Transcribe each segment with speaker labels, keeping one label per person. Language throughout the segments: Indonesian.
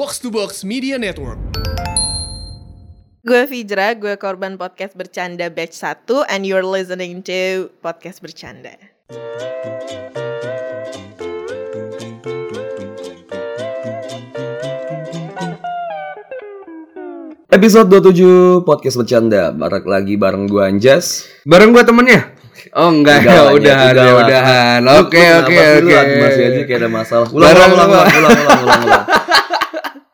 Speaker 1: Box to Box Media Network.
Speaker 2: Gue Fijra, gue korban podcast bercanda batch 1 and you're listening to podcast bercanda.
Speaker 3: Episode 27 Podcast Bercanda Barak lagi bareng gue Anjas
Speaker 4: Bareng gua temennya? Oh
Speaker 3: Udahan,
Speaker 4: enggak, ya
Speaker 3: ya,
Speaker 4: udahan, ya
Speaker 3: udahan.
Speaker 4: udahan.
Speaker 3: Lu- lu
Speaker 4: Oke,
Speaker 3: kenapa
Speaker 4: oke,
Speaker 3: sih lu
Speaker 4: oke.
Speaker 3: Masih aja kayak ada masalah Ulang,
Speaker 4: Bareng
Speaker 3: ulang,
Speaker 4: gua.
Speaker 3: ulang, ulang, ulang, ulang, ulang.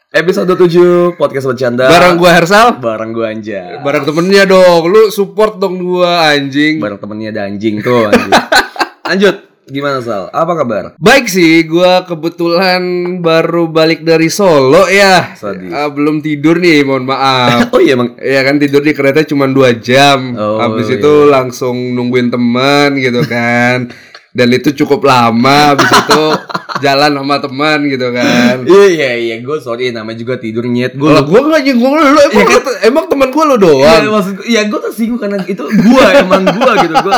Speaker 3: Episode 7 Podcast Bercanda
Speaker 4: Bareng gua Hersal,
Speaker 3: Bareng gue Anjas
Speaker 4: bareng temennya dong. Lu support dong gua anjing.
Speaker 3: Bareng temennya ada anjing tuh anjing. Lanjut Gimana Sal? Apa kabar?
Speaker 4: Baik sih, gua kebetulan baru balik dari Solo ya.
Speaker 3: Sadis.
Speaker 4: Ah, belum tidur nih, mohon maaf.
Speaker 3: Oh iya emang
Speaker 4: Ya kan tidur di kereta cuma dua jam.
Speaker 3: Oh,
Speaker 4: habis
Speaker 3: iya.
Speaker 4: itu langsung nungguin teman gitu kan. Dan itu cukup lama habis itu jalan sama teman gitu kan.
Speaker 3: Iya iya iya gue sorry namanya juga tidur nyet Gue
Speaker 4: Kalau Oh, gua enggak nyinggung lu, Iya emang lu- emang teman gua lu doang.
Speaker 3: Iya, maksud gue, ya gue tersinggung karena itu gue emang gue gitu gue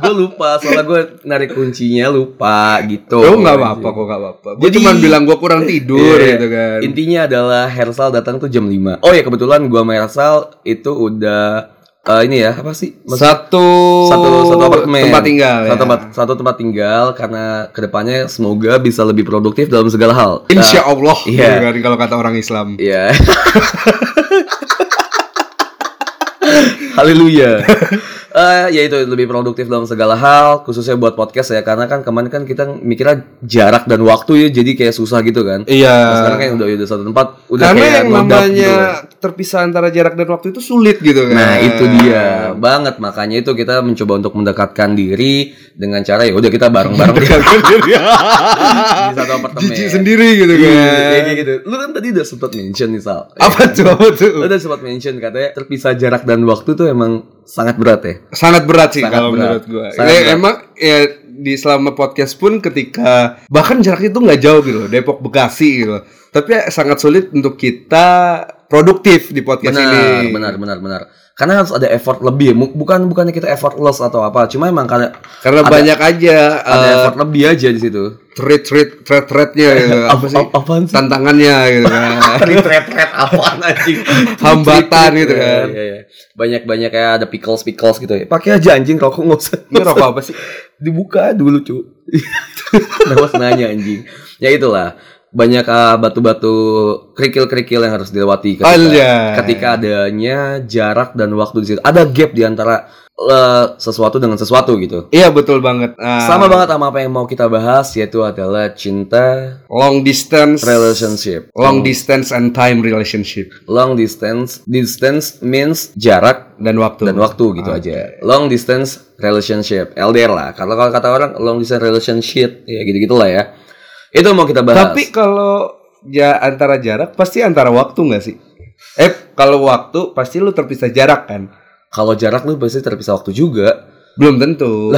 Speaker 3: gue lupa soalnya gue narik kuncinya lupa gitu
Speaker 4: Gue Oh, nggak apa-apa kok nggak apa-apa. Gue
Speaker 3: Jadi-
Speaker 4: cuma bilang gue kurang tidur
Speaker 3: Iya.
Speaker 4: gitu kan.
Speaker 3: intinya adalah Hersal datang tuh jam 5 oh ya kebetulan gue sama Hersal itu udah eh, ini ya apa sih Maksud-
Speaker 4: satu
Speaker 3: satu satu apartemen
Speaker 4: tempat tinggal. ya.
Speaker 3: satu tempat satu tempat tinggal karena kedepannya semoga bisa lebih produktif dalam segala hal
Speaker 4: Insya Allah.
Speaker 3: Iya.
Speaker 4: gitu kan, kalau kata orang Islam.
Speaker 3: Ya. Haleluya. Eh ya itu lebih produktif dalam segala hal, khususnya buat podcast ya karena kan kemarin kan kita mikirnya jarak dan waktu ya jadi kayak susah gitu kan.
Speaker 4: Iya.
Speaker 3: Nah, sekarang kayak udah udah satu tempat, udah
Speaker 4: Karena
Speaker 3: kayak
Speaker 4: yang
Speaker 3: meledak gitu
Speaker 4: namanya
Speaker 3: kan.
Speaker 4: terpisah antara jarak dan waktu itu sulit gitu kan.
Speaker 3: Nah, itu dia banget makanya itu kita mencoba untuk mendekatkan diri dengan cara ya udah kita bareng-bareng di di satu apartemen.
Speaker 4: Jijik sendiri gitu
Speaker 3: Iya, kayak
Speaker 4: kan.
Speaker 3: gitu. Lu kan tadi udah sempat mention nih Sal.
Speaker 4: Apa tuh? Apa tuh?
Speaker 3: Lo udah sempat mention katanya terpisah jarak dan waktu tuh emang sangat berat ya.
Speaker 4: Sangat berat sih
Speaker 3: Sangat
Speaker 4: kalau
Speaker 3: berat.
Speaker 4: menurut gue.
Speaker 3: Sangat berat.
Speaker 4: Emang ya di selama podcast pun ketika bahkan jaraknya itu nggak jauh gitu loh, Depok Bekasi gitu. loh. Tapi ya sangat sulit untuk kita produktif di podcast
Speaker 3: Benar,
Speaker 4: ini.
Speaker 3: benar, benar, benar. Karena harus ada effort lebih. ya. Mu- Bukan bukannya kita effortless atau apa, cuma emang karena
Speaker 4: Karena
Speaker 3: Ada-
Speaker 4: banyak aja
Speaker 3: ada
Speaker 4: eh,
Speaker 3: effort lebih aja di situ.
Speaker 4: thread-thread thread-threadnya gitu. apa
Speaker 3: Apa-
Speaker 4: sih?
Speaker 3: apa- apaan sih?
Speaker 4: Tantangannya gitu kan.
Speaker 3: Retret-retret apaan anjing?
Speaker 4: Hambatan gitu kan.
Speaker 3: Iya, iya. Banyak-banyak kayak ada pickles-pickles gitu ya. Pakai aja anjing rokok nggak usah.
Speaker 4: Ini rokok apa sih?
Speaker 3: Dibuka dulu, cu. Nawas nanya anjing. Ya itulah. Banyak ah, batu-batu kerikil-kerikil yang harus dilewati ketika
Speaker 4: Anjay.
Speaker 3: ketika adanya jarak dan waktu di situ. Ada gap di antara eh, sesuatu dengan sesuatu gitu.
Speaker 4: Iya betul banget. Ah,
Speaker 3: Sama banget sama apa yang mau kita bahas yaitu adalah cinta
Speaker 4: long distance
Speaker 3: relationship. Hmm.
Speaker 4: Long distance and time relationship
Speaker 3: Long distance distance means jarak
Speaker 4: dan waktu. Ah.
Speaker 3: dan waktu gitu aja. Long distance relationship LDR lah. Kalau kalau kata orang long distance relationship ya gitu-gitu lah ya. Itu mau kita bahas.
Speaker 4: Tapi kalau ya antara jarak pasti antara waktu nggak sih? Eh kalau waktu pasti lu terpisah jarak kan?
Speaker 3: kalau jarak lu pasti terpisah waktu juga.
Speaker 4: Belum tentu.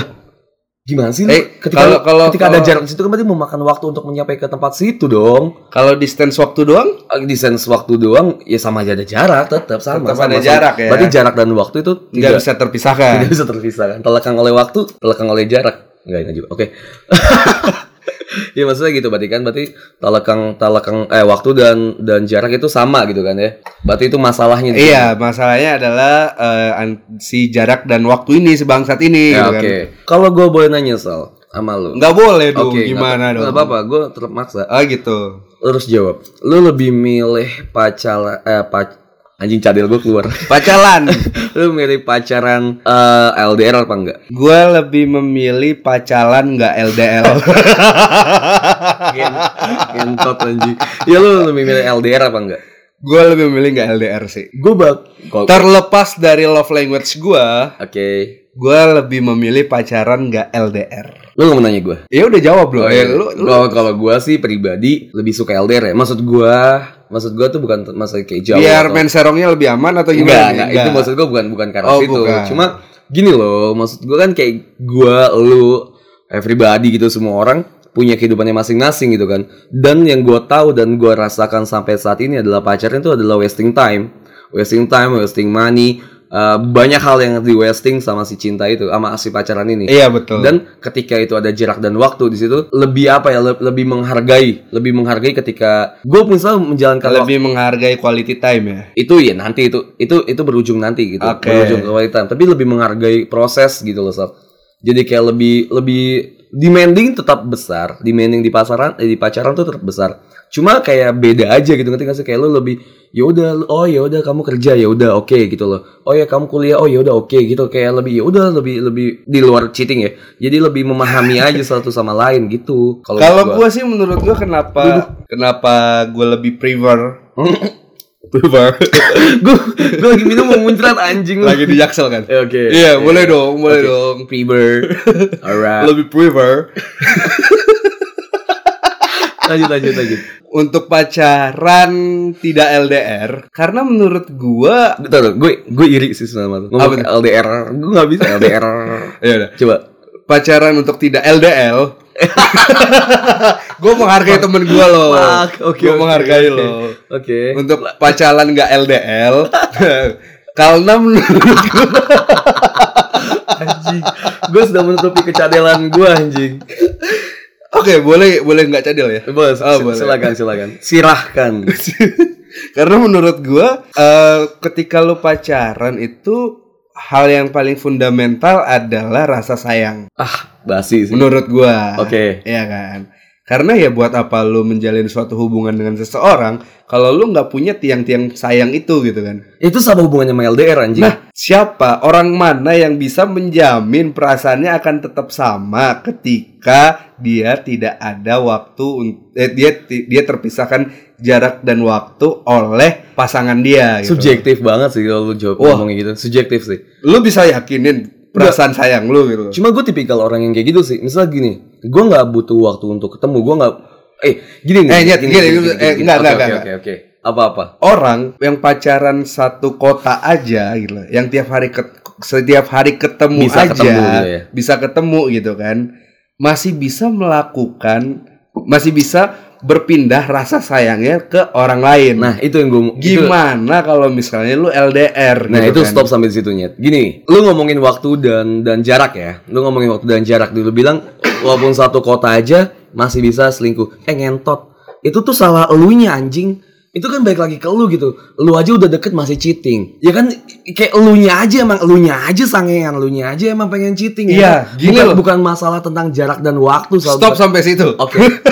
Speaker 3: Gimana sih? lu?
Speaker 4: Eh,
Speaker 3: ketika
Speaker 4: kalau- kalau-
Speaker 3: ketika ada
Speaker 4: kalau-
Speaker 3: jarak di situ kan berarti memakan waktu untuk mencapai ke tempat situ dong.
Speaker 4: Kalau distance waktu doang?
Speaker 3: Eh, Distance waktu doang ya sama aja ada jarak tetap sama. sama,
Speaker 4: Tetap ada
Speaker 3: sama.
Speaker 4: jarak ya.
Speaker 3: Berarti jarak dan waktu itu tidak
Speaker 4: Nggak bisa terpisahkan.
Speaker 3: Tidak bisa terpisahkan. Telekang oleh waktu, telekang oleh jarak. Enggak ini juga. Oke. ya maksudnya gitu berarti kan berarti telekang telekang eh waktu dan dan jarak itu sama gitu kan ya. Berarti itu masalahnya. di
Speaker 4: Iya, masalahnya adalah eh, an- si jarak dan waktu ini sebangsat
Speaker 3: sini.
Speaker 4: ini
Speaker 3: Ya,
Speaker 4: gitu
Speaker 3: oke.
Speaker 4: kan.
Speaker 3: Kalau gue boleh nanya Sal sama lu.
Speaker 4: Nggak boleh dong,
Speaker 3: Oke,
Speaker 4: gitu. gimana
Speaker 3: nggak-
Speaker 4: dong?
Speaker 3: Nggak apa-apa, gue terpaksa.
Speaker 4: Ah gitu.
Speaker 3: Lu harus jawab. Lu lebih milih pacaran eh pac anjing cadel gue keluar.
Speaker 4: Pacalan.
Speaker 3: lu milih pacaran eh, LDR apa enggak?
Speaker 4: gue lebih memilih pacalan nggak LDL.
Speaker 3: Gen- Gentot anjing. Ya lu lebih milih LDR apa enggak?
Speaker 4: gue lebih memilih nggak LDR sih.
Speaker 3: Gue bak. Oke.
Speaker 4: Terlepas dari love language gue, gue lebih memilih pacaran nggak LDR.
Speaker 3: Lu gak mau nanya gue?
Speaker 4: Ya udah jawab loh.
Speaker 3: iya.
Speaker 4: ya, lu, lu-
Speaker 3: Kalau kalau gue sih pribadi lebih suka LDR ya. Maksud gue, maksud gue tuh bukan t- maksud kayak jauh.
Speaker 4: biar
Speaker 3: atau-
Speaker 4: men serongnya lebih aman atau
Speaker 3: enggak,
Speaker 4: gimana?
Speaker 3: enggak,
Speaker 4: nih?
Speaker 3: itu maksud gue bukan bukan karena
Speaker 4: Oh,
Speaker 3: situ.
Speaker 4: bukan.
Speaker 3: Cuma gini loh, maksud gue kan kayak gue, lu, everybody gitu semua orang punya kehidupannya masing-masing gitu kan. Dan yang gue tahu dan gue rasakan sampai saat ini adalah pacarnya itu adalah wasting time, wasting time, wasting money. eh, banyak hal yang di wasting sama si cinta itu sama si pacaran ini
Speaker 4: Iya betul.
Speaker 3: dan ketika itu ada jarak dan waktu di situ lebih apa ya le- lebih menghargai lebih menghargai ketika gue misal menjalankan waktu
Speaker 4: lebih menghargai quality time ya.
Speaker 3: itu ya nanti itu itu itu berujung nanti gitu
Speaker 4: Oke.
Speaker 3: berujung ke quality time. tapi lebih menghargai proses gitu loh sob jadi kayak lebih lebih demanding tetap besar demanding di pasaran eh, di pacaran tuh tetap besar cuma kayak beda aja gitu ngerti nggak sih kayak lo lebih ya udah lu- oh ya udah kamu kerja ya udah oke gitu loh oh ya kamu kuliah oh ya udah oke gitu kayak lebih ya udah lebih lebih di luar cheating ya jadi lebih memahami aja satu sama lain gitu kalau
Speaker 4: Kalau
Speaker 3: gua-
Speaker 4: gue sih menurut gue kenapa kenapa gue lebih prefer prefer
Speaker 3: gua gua lagi minum mau muncrat anjing lu.
Speaker 4: lagi di jaksel kan?
Speaker 3: Eh, oke.
Speaker 4: Iya boleh dong boleh
Speaker 3: Oke.
Speaker 4: dong.
Speaker 3: Fever. Alright.
Speaker 4: Lebih prefer
Speaker 3: lanjut lanjut lanjut.
Speaker 4: untuk pacaran tidak LDR karena menurut gue
Speaker 3: Bentar, bentar. gue gue iri sih sebenarnya.
Speaker 4: Apa
Speaker 3: Ngomong
Speaker 4: tuh?
Speaker 3: LDR, gue nggak bisa LDR.
Speaker 4: ya udah
Speaker 3: Coba.
Speaker 4: pacaran untuk tidak LDL gue menghargai temen gue loh
Speaker 3: Fuck, oke,
Speaker 4: gue
Speaker 3: oke,
Speaker 4: menghargai
Speaker 3: oke.
Speaker 4: loh
Speaker 3: Oke.
Speaker 4: untuk pacaran nggak LDL karena menurut
Speaker 3: Anjing. gue sudah menutupi kecadelan gue anjing.
Speaker 4: oke boleh boleh nggak cadel ya
Speaker 3: Bos,
Speaker 4: Oh,
Speaker 3: sil-
Speaker 4: boleh.
Speaker 3: silakan silakan. Silahkan.
Speaker 4: karena menurut gue ketika lu pacaran itu hal yang paling fundamental adalah rasa sayang
Speaker 3: ah, basi sih.
Speaker 4: menurut gua
Speaker 3: Oke.
Speaker 4: Iya kan? Karena ya buat apa lu menjalin suatu hubungan dengan seseorang kalau lu nggak punya tiang-tiang sayang itu gitu kan?
Speaker 3: Itu sama hubungannya sama LDR anjing.
Speaker 4: Nah, siapa orang mana yang bisa menjamin perasaannya akan tetap sama ketika dia tidak ada waktu un- eh, dia ti- dia terpisahkan jarak dan waktu oleh pasangan dia gitu.
Speaker 3: Subjektif banget sih kalau lu jawab
Speaker 4: Wah.
Speaker 3: ngomongnya gitu. Subjektif sih.
Speaker 4: Lu bisa yakinin perasaan sayang lu gitu.
Speaker 3: Cuma gue tipikal orang yang kayak gitu sih. Misal gini, gue nggak butuh waktu untuk ketemu. Gue nggak, eh gini nih.
Speaker 4: Eh, nyet, gini, eh, enggak,
Speaker 3: Oke,
Speaker 4: enggak,
Speaker 3: oke,
Speaker 4: enggak.
Speaker 3: Oke oke. Apa apa?
Speaker 4: orang yang pacaran satu kota aja gitu loh, yang tiap hari ket- setiap hari ketemu
Speaker 3: Bisa
Speaker 4: aja
Speaker 3: ketemu gitu ya.
Speaker 4: bisa ketemu gitu kan masih bisa melakukan masih bisa berpindah rasa sayangnya ke orang lain
Speaker 3: Nah itu yang gue
Speaker 4: gimana kalau misalnya lu LDR
Speaker 3: Nah itu
Speaker 4: gitu kan?
Speaker 3: stop sampai di situ Nyet. Gini, lu ngomongin waktu dan dan jarak ya. Lu ngomongin waktu dan jarak dulu bilang walaupun satu kota aja masih bisa selingkuh. Eh ngentot. Itu tuh salah elunya anjing. Itu kan balik lagi ke lu gitu. Lu aja udah deket masih cheating. Ya kan kayak elunya aja emang elunya aja sangean, elunya aja emang pengen cheating ya.
Speaker 4: Iya,
Speaker 3: kan?
Speaker 4: gini
Speaker 3: bukan,
Speaker 4: loh.
Speaker 3: bukan masalah tentang jarak dan waktu soal-
Speaker 4: stop sampai situ
Speaker 3: Oke.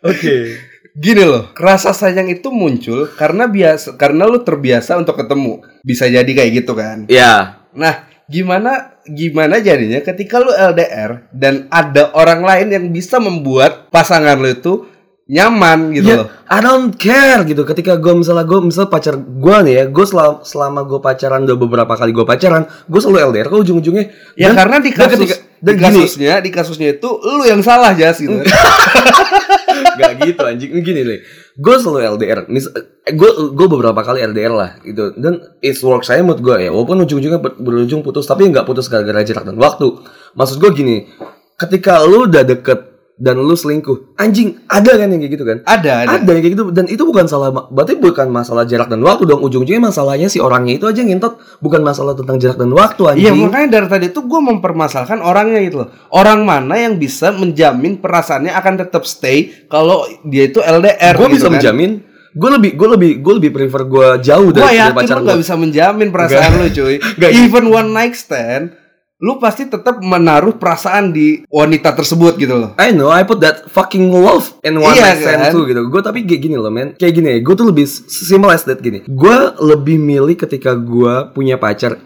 Speaker 3: Oke.
Speaker 4: Gini loh, rasa sayang itu muncul karena biasa karena lu terbiasa untuk ketemu. Bisa jadi kayak gitu kan.
Speaker 3: Ya,
Speaker 4: Nah, gimana gimana jadinya ketika lu LDR dan ada orang lain yang bisa membuat pasangan lu itu nyaman gitu
Speaker 3: Ya,
Speaker 4: loh.
Speaker 3: I don't care gitu. Ketika gue misalnya gue misal pacar gue nih ya, gue selama, selama gue pacaran udah beberapa kali gue pacaran, gue selalu LDR. Kok ujung-ujungnya?
Speaker 4: Ya
Speaker 3: dan-
Speaker 4: karena di
Speaker 3: dan
Speaker 4: kasus
Speaker 3: ketika- dan
Speaker 4: di
Speaker 3: gini,
Speaker 4: kasusnya, di kasusnya itu lu yang salah jas gitu.
Speaker 3: Gak gitu anjing Gini nih Gue selalu LDR Mis Gue gue beberapa kali LDR lah gitu Dan it's work saya mood gue ya Walaupun ujung-ujungnya ber- berujung putus Tapi nggak putus gara-gara jarak dan waktu Maksud gue gini Ketika lu udah deket Dan lu selingkuh Anjing Ada kan yang kayak gitu kan
Speaker 4: ada, ada.
Speaker 3: ada yang kayak gitu dan itu bukan salah berarti bukan masalah jarak dan waktu dong ujung-ujungnya masalahnya si orangnya itu aja ngintot bukan masalah tentang jarak dan waktu
Speaker 4: Iya
Speaker 3: anjing
Speaker 4: makanya dari tadi tuh gue mempermasalahkan orangnya gitu loh Orang mana yang bisa menjamin perasaannya akan tetap stay Kalau dia itu LDR
Speaker 3: gue
Speaker 4: gitu
Speaker 3: bisa
Speaker 4: kan.
Speaker 3: menjamin gue lebih gue lebih gue lebih prefer gue jauh
Speaker 4: Gue
Speaker 3: dari, dari
Speaker 4: yakin
Speaker 3: pacar
Speaker 4: lu
Speaker 3: gue
Speaker 4: gak bisa menjamin perasaan lu cuy
Speaker 3: Nggak. iya.
Speaker 4: Even one night stand Lu pasti tetap menaruh perasaan di wanita tersebut gitu loh
Speaker 3: I know I put that fucking love in one
Speaker 4: Iya,
Speaker 3: night stand
Speaker 4: kan?
Speaker 3: too gitu. Gue tapi kayak gini loh men, kayak gini. Gue tuh lebih s- simple as that gini. Gue lebih milih ketika gue punya pacar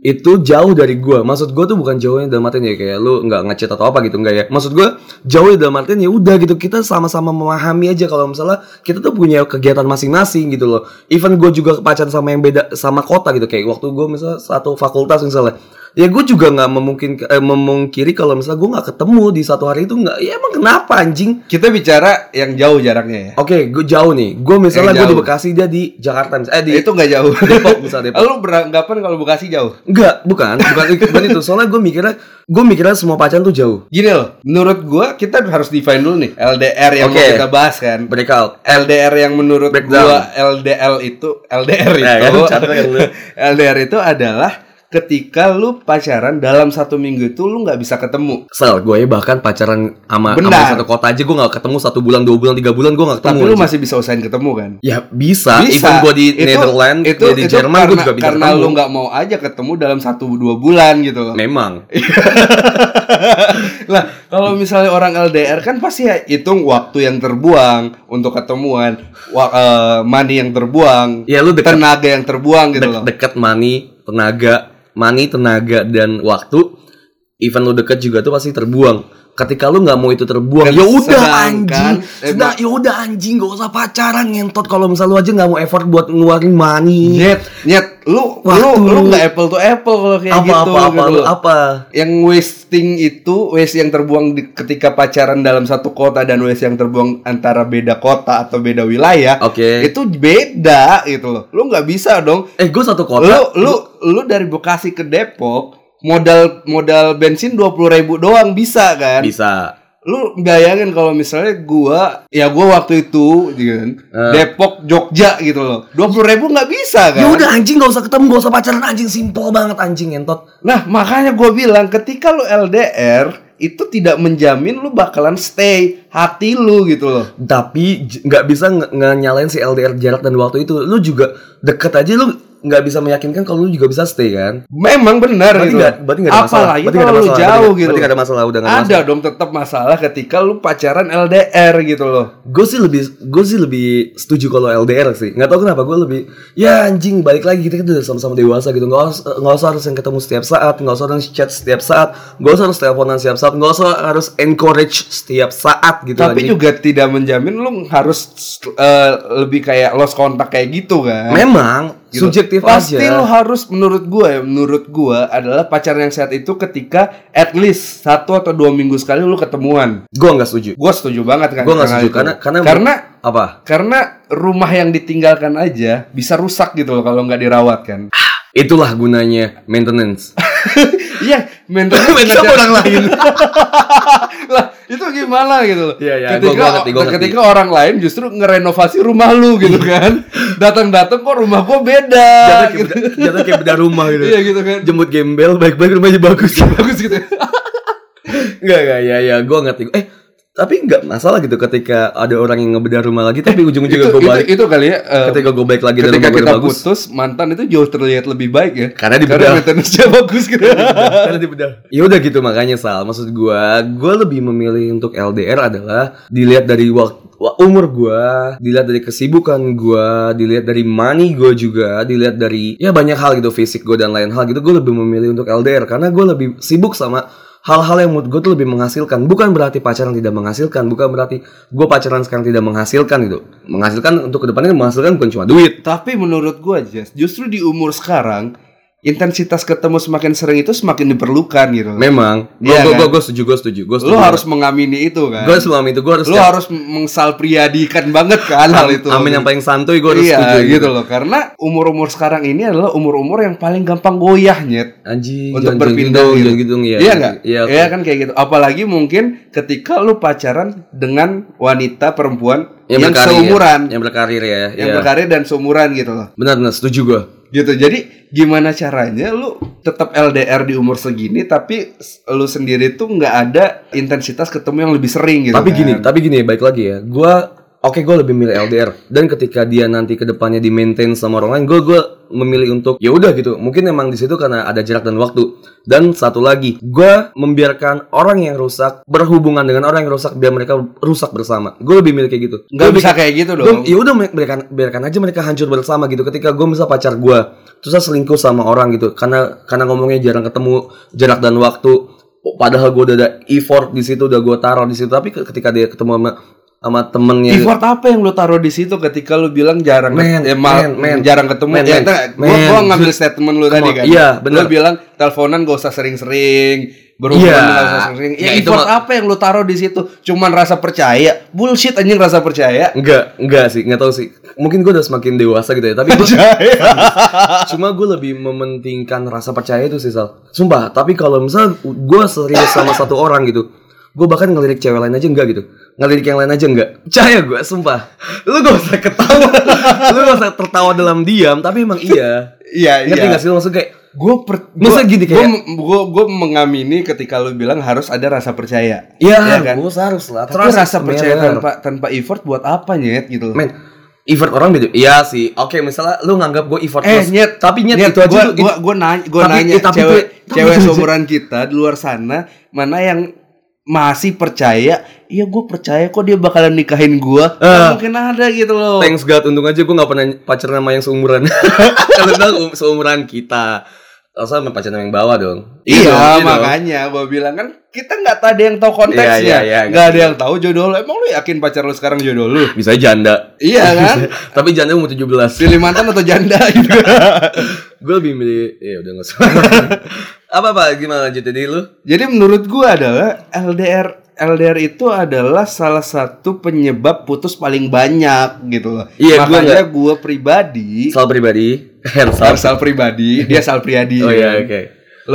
Speaker 3: itu jauh dari gue. Maksud gue tuh bukan jauhnya dalam artian ya kayak lu nggak ngechat atau apa gitu enggak ya. Maksud gue jauh dalam artian ya udah gitu kita sama-sama memahami aja kalau misalnya kita tuh punya kegiatan masing-masing gitu loh. Even gue juga pacaran sama yang beda sama kota gitu kayak waktu gue misalnya satu fakultas misalnya ya gue juga nggak memungkin eh, memungkiri kalau misalnya gue nggak ketemu di satu hari itu nggak ya emang kenapa anjing
Speaker 4: Kita bicara yang jauh jaraknya ya.
Speaker 3: oke gue jauh nih gue misalnya
Speaker 4: Eh,
Speaker 3: gue di
Speaker 4: jauh.
Speaker 3: Bekasi dia di Jakarta mis- eh di
Speaker 4: itu nggak jauh.
Speaker 3: Depok misalnya Depok
Speaker 4: Lu beranggapan kalau Bekasi jauh?
Speaker 3: Enggak, bukan, bukan, bukan itu. Soalnya gue mikirnya, gue mikirnya semua pacaran tuh jauh.
Speaker 4: Gini loh, menurut gua kita harus define dulu nih LDR yang mau
Speaker 3: Oke.
Speaker 4: kita bahas kan.
Speaker 3: Breakout.
Speaker 4: LDR yang menurut
Speaker 3: Breakdown.
Speaker 4: gua LDL itu LDR
Speaker 3: Ya,
Speaker 4: itu
Speaker 3: kan, catat kan lu.
Speaker 4: LDR itu adalah ketika lu pacaran dalam satu minggu itu lu nggak bisa ketemu.
Speaker 3: Sel, gue ya bahkan pacaran sama, sama
Speaker 4: Benar.
Speaker 3: satu kota aja gue gak ketemu satu bulan, dua bulan, tiga bulan gue gak ketemu.
Speaker 4: Tapi lu
Speaker 3: anjing.
Speaker 4: masih bisa usahain ketemu kan?
Speaker 3: ya bisa, even gue di
Speaker 4: Itu-
Speaker 3: Netherlands, gue di Jerman gue
Speaker 4: karena-
Speaker 3: juga bisa
Speaker 4: karena
Speaker 3: ketemu.
Speaker 4: lu nggak mau aja ketemu dalam satu dua bulan gitu loh.
Speaker 3: Memang.
Speaker 4: lah kalau misalnya orang LDR kan pasti ya hitung waktu yang terbuang untuk ketemuan, wa, eh, money yang terbuang,
Speaker 3: Ya lu dekat,
Speaker 4: tenaga yang terbuang gitu
Speaker 3: dek-
Speaker 4: loh.
Speaker 3: dekat money, tenaga, money, tenaga dan waktu. Even lu deket juga tuh pasti terbuang. Ketika lu nggak mau itu terbuang,
Speaker 4: Dan
Speaker 3: ya udah
Speaker 4: sedangkan-
Speaker 3: anjing, sudah ya udah anjing, gak usah pacaran ngentot kalau misalnya lu aja nggak mau effort buat ngeluarin money.
Speaker 4: Nyet, nyet, lu lu
Speaker 3: Waktu.
Speaker 4: lu nggak apple to apple kalau kayak
Speaker 3: apa,
Speaker 4: gitu
Speaker 3: apa apa
Speaker 4: gitu
Speaker 3: lu
Speaker 4: loh.
Speaker 3: apa
Speaker 4: Yang wasting itu waste yang terbuang di- ketika pacaran dalam satu kota dan waste yang terbuang antara beda kota atau beda wilayah
Speaker 3: oke
Speaker 4: itu beda gitu loh. Lu nggak bisa dong.
Speaker 3: eh gue satu
Speaker 4: Lu
Speaker 3: kota
Speaker 4: lu lu dari Bekasi ke Depok modal modal bensin dua ribu doang bisa kan?
Speaker 3: bisa
Speaker 4: Lu bayangin kalau misalnya gua ya gua waktu itu gitu kan,
Speaker 3: Eh.
Speaker 4: Depok Jogja gitu loh dua ribu nggak bisa kan?
Speaker 3: ya udah anjing gak usah ketemu gak usah pacaran anjing simpel banget anjing entot
Speaker 4: Nah, makanya gue bilang ketika lu LDR itu tidak menjamin lu bakalan stay hati lu gitu loh.
Speaker 3: tapi j- nggak bisa nge- nge- nyalain si LDR jarak dan waktu itu lu juga deket aja lu nggak bisa meyakinkan kalau lu juga bisa stay kan
Speaker 4: Memang benar
Speaker 3: berarti
Speaker 4: gitu.
Speaker 3: nggak berarti nggak ada masalah
Speaker 4: Apalagi
Speaker 3: berarti nggak
Speaker 4: kalau lu
Speaker 3: masalah
Speaker 4: jauh
Speaker 3: berarti,
Speaker 4: gitu.
Speaker 3: berarti nggak ada masalah udah nggak ada
Speaker 4: Ada dong tetap masalah ketika lu pacaran LDR gitu loh.
Speaker 3: gue sih lebih gue sih lebih setuju kalau LDR sih nggak tahu kenapa gue lebih ya anjing balik lagi kita kan udah sama-sama dewasa gitu nggak us- nggak usah harus yang ketemu setiap saat nggak usah harus chat setiap saat nggak usah harus teleponan setiap saat nggak usah harus encourage setiap saat gitu
Speaker 4: Tapi
Speaker 3: anjing.
Speaker 4: juga tidak menjamin lu harus eh, lebih kayak lost kontak kayak gitu kan.
Speaker 3: memang
Speaker 4: Gitu.
Speaker 3: subjektif
Speaker 4: Pasti
Speaker 3: aja
Speaker 4: lu harus menurut gua ya, menurut gua adalah pacaran yang sehat itu ketika at least satu atau dua minggu sekali lu ketemuan.
Speaker 3: gue nggak setuju
Speaker 4: Gue setuju banget kan.
Speaker 3: gue nggak
Speaker 4: karena
Speaker 3: setuju
Speaker 4: itu.
Speaker 3: karena karena
Speaker 4: karena
Speaker 3: apa
Speaker 4: karena rumah yang ditinggalkan aja bisa rusak gitu loh kalau nggak dirawat kan.
Speaker 3: itulah gunanya maintenance
Speaker 4: Iya, maintenance
Speaker 3: Maintenance
Speaker 4: ngejar-
Speaker 3: orang lain.
Speaker 4: lah, itu gimana gitu loh.
Speaker 3: Iya, iya,
Speaker 4: ketika
Speaker 3: gua- gua ngerti, gua ngerti. Iya.
Speaker 4: ketika orang lain justru ngerenovasi rumah lu gitu kan. Datang-datang kok rumah gua beda
Speaker 3: jatuh kayak
Speaker 4: gitu.
Speaker 3: beda- jatuh kayak beda rumah gitu
Speaker 4: Iya gitu kan.
Speaker 3: jemput gembel baik-baik rumahnya bagus
Speaker 4: Bagus gitu.
Speaker 3: Enggak, enggak, ya, ya, gue ngerti. Eh, tapi nggak masalah gitu ketika ada orang yang ngebedah rumah lagi, tapi ujung-ujungnya
Speaker 4: itu,
Speaker 3: gue balik.
Speaker 4: itu, itu kali ya. eh,
Speaker 3: ketika gue balik lagi dan
Speaker 4: ketika
Speaker 3: rumah gua
Speaker 4: kita
Speaker 3: udah bagus.
Speaker 4: putus mantan itu jauh terlihat lebih baik ya.
Speaker 3: Karena dibedah.
Speaker 4: maintenance-nya bagus gitu.
Speaker 3: Karena dibedah. Ya udah gitu makanya Sal, maksud gue, gue lebih memilih untuk LDR adalah dilihat dari waktu umur gue, dilihat dari kesibukan gue, dilihat dari money gue juga, dilihat dari ya banyak hal gitu fisik gue dan lain hal gitu, gue lebih memilih untuk LDR karena gue lebih sibuk sama hal-hal yang menurut gue tuh lebih menghasilkan bukan berarti pacaran tidak menghasilkan bukan berarti gue pacaran sekarang tidak menghasilkan gitu menghasilkan untuk kedepannya menghasilkan bukan cuma duit
Speaker 4: Tapi menurut gua Jess, justru di umur sekarang intensitas ketemu semakin sering itu semakin diperlukan gitu. loh.
Speaker 3: memang gue
Speaker 4: Iya,
Speaker 3: gue
Speaker 4: kan?
Speaker 3: gue setuju gue setuju gue setuju
Speaker 4: Lu harus mengamini itu kan.
Speaker 3: gue selama itu gue harus
Speaker 4: Lu harus mengsalpriadikan banget kan hal itu.
Speaker 3: Amin yang paling santuy gue harus
Speaker 4: iya,
Speaker 3: setuju
Speaker 4: gitu. loh. Karena umur-umur sekarang ini adalah umur-umur yang paling gampang goyah, Nyet.
Speaker 3: Anjing,
Speaker 4: Untuk
Speaker 3: jangan-
Speaker 4: berpindah
Speaker 3: jangan
Speaker 4: gitu.
Speaker 3: gitu, jangan gitu, iya.
Speaker 4: iya nggak?
Speaker 3: Iya, oke.
Speaker 4: Iya kan kayak gitu. Apalagi mungkin ketika lu pacaran dengan wanita perempuan yang,
Speaker 3: berkarir ya.
Speaker 4: seumuran,
Speaker 3: yang berkarir ya,
Speaker 4: yang
Speaker 3: iya.
Speaker 4: berkarir dan seumuran gitu loh.
Speaker 3: benar benar setuju gue
Speaker 4: Gitu. Jadi gimana caranya lu tetap LDR di umur segini tapi s- lu sendiri tuh nggak ada intensitas ketemu yang lebih sering gitu.
Speaker 3: tapi
Speaker 4: kan.
Speaker 3: gini tapi gini baik lagi ya gue oke gue lebih milih LDR dan ketika dia nanti kedepannya di maintain sama orang lain gue gue memilih untuk ya udah gitu mungkin emang di situ karena ada jarak dan waktu dan satu lagi gue membiarkan orang yang rusak berhubungan dengan orang yang rusak biar mereka rusak bersama gue lebih milih kayak gitu
Speaker 4: nggak
Speaker 3: Gua
Speaker 4: bisa kayak gitu
Speaker 3: Gua-
Speaker 4: dong.
Speaker 3: ya udah mereka- biarkan biarkan aja mereka hancur bersama gitu ketika gue misal pacar gue terus saya selingkuh sama orang gitu karena karena ngomongnya jarang ketemu jarak dan oh, waktu padahal gue udah ada effort di situ udah gue taruh di situ tapi ke- ketika dia ketemu sama sama temennya
Speaker 4: Effort apa yang lu taruh di situ ketika lu bilang jarang
Speaker 3: Iya. Men,
Speaker 4: eh, ma-
Speaker 3: men, men.
Speaker 4: jarang ketemu?
Speaker 3: Men,
Speaker 4: ya,
Speaker 3: men,
Speaker 4: tak, gua,
Speaker 3: men.
Speaker 4: gua ngambil statement lu tadi
Speaker 3: on.
Speaker 4: kan.
Speaker 3: Iya,
Speaker 4: Lu
Speaker 3: bener.
Speaker 4: bilang teleponan gak usah sering-sering,
Speaker 3: Iya.
Speaker 4: berhubungan nggak usah sering-sering. Ya,
Speaker 3: Ya, itu
Speaker 4: effort
Speaker 3: mah-
Speaker 4: apa yang lu taruh di situ? Cuman rasa percaya. Bullshit anjing rasa percaya.
Speaker 3: Enggak, enggak sih, enggak tahu sih. Mungkin gue udah semakin dewasa gitu ya, tapi gua- cuma gue lebih mementingkan rasa percaya itu sih Sal. Sumpah, tapi kalau misal gue serius sama satu orang gitu, gue bahkan ngelirik cewek lain aja enggak gitu, ngelirik yang lain aja enggak. Percaya gue, sumpah. Lu gak usah ketawa, lu gak usah tertawa dalam diam, tapi emang iya.
Speaker 4: Iya, iya.
Speaker 3: Ngerti gak sih lu maksud kayak
Speaker 4: Gue per,
Speaker 3: Maksudnya gini kayak-
Speaker 4: gue gue mengamini ketika lu bilang harus ada rasa percaya.
Speaker 3: Iya,
Speaker 4: Iya
Speaker 3: kan? gue harus lah.
Speaker 4: Tapi
Speaker 3: Trust
Speaker 4: rasa
Speaker 3: is
Speaker 4: percaya kan,
Speaker 3: matter.
Speaker 4: tanpa tanpa effort buat apa nyet gitu loh.
Speaker 3: men effort orang beda iya sih oke misalnya lu nganggap gue effort
Speaker 4: Eh, nyet,
Speaker 3: tapi nyet, itu
Speaker 4: gua,
Speaker 3: aja lu-
Speaker 4: gua, gua nanya, gua
Speaker 3: Tapi-
Speaker 4: nanya
Speaker 3: eh, tapi
Speaker 4: cewek,
Speaker 3: itu- tapi
Speaker 4: cewek
Speaker 3: itu aja.
Speaker 4: seumuran kita di luar sana mana yang masih percaya, iya gue percaya kok dia bakalan nikahin gua. Nggak
Speaker 3: Eh.
Speaker 4: mungkin ada gitu loh.
Speaker 3: thanks god untung aja gue gak pernah pacaran sama yang seumuran kalau enggak um- seumuran kita Rasa sama pacaran yang bawah dong
Speaker 4: Iya,
Speaker 3: dong, dong.
Speaker 4: makanya gua bilang kan kita nggak tahu ada yang tahu konteksnya,
Speaker 3: Iya, iya, iya.
Speaker 4: nggak ada yang tahu jodoh lo. Emang lu yakin pacar lu sekarang jodoh lu?
Speaker 3: bisa aja janda
Speaker 4: iya kan?
Speaker 3: tapi janda umur 17
Speaker 4: Pilih mantan atau janda gitu.
Speaker 3: gue lebih milih ya udah gak usah apa apa gimana lanjut jadi lu
Speaker 4: Jadi menurut gua adalah LDR LDR itu adalah salah satu penyebab putus paling banyak gitu loh.
Speaker 3: Iya, gua
Speaker 4: Makanya gua pribadi,
Speaker 3: sal pribadi hands up.
Speaker 4: sal pribadi, dia sal priadi.
Speaker 3: oh iya oke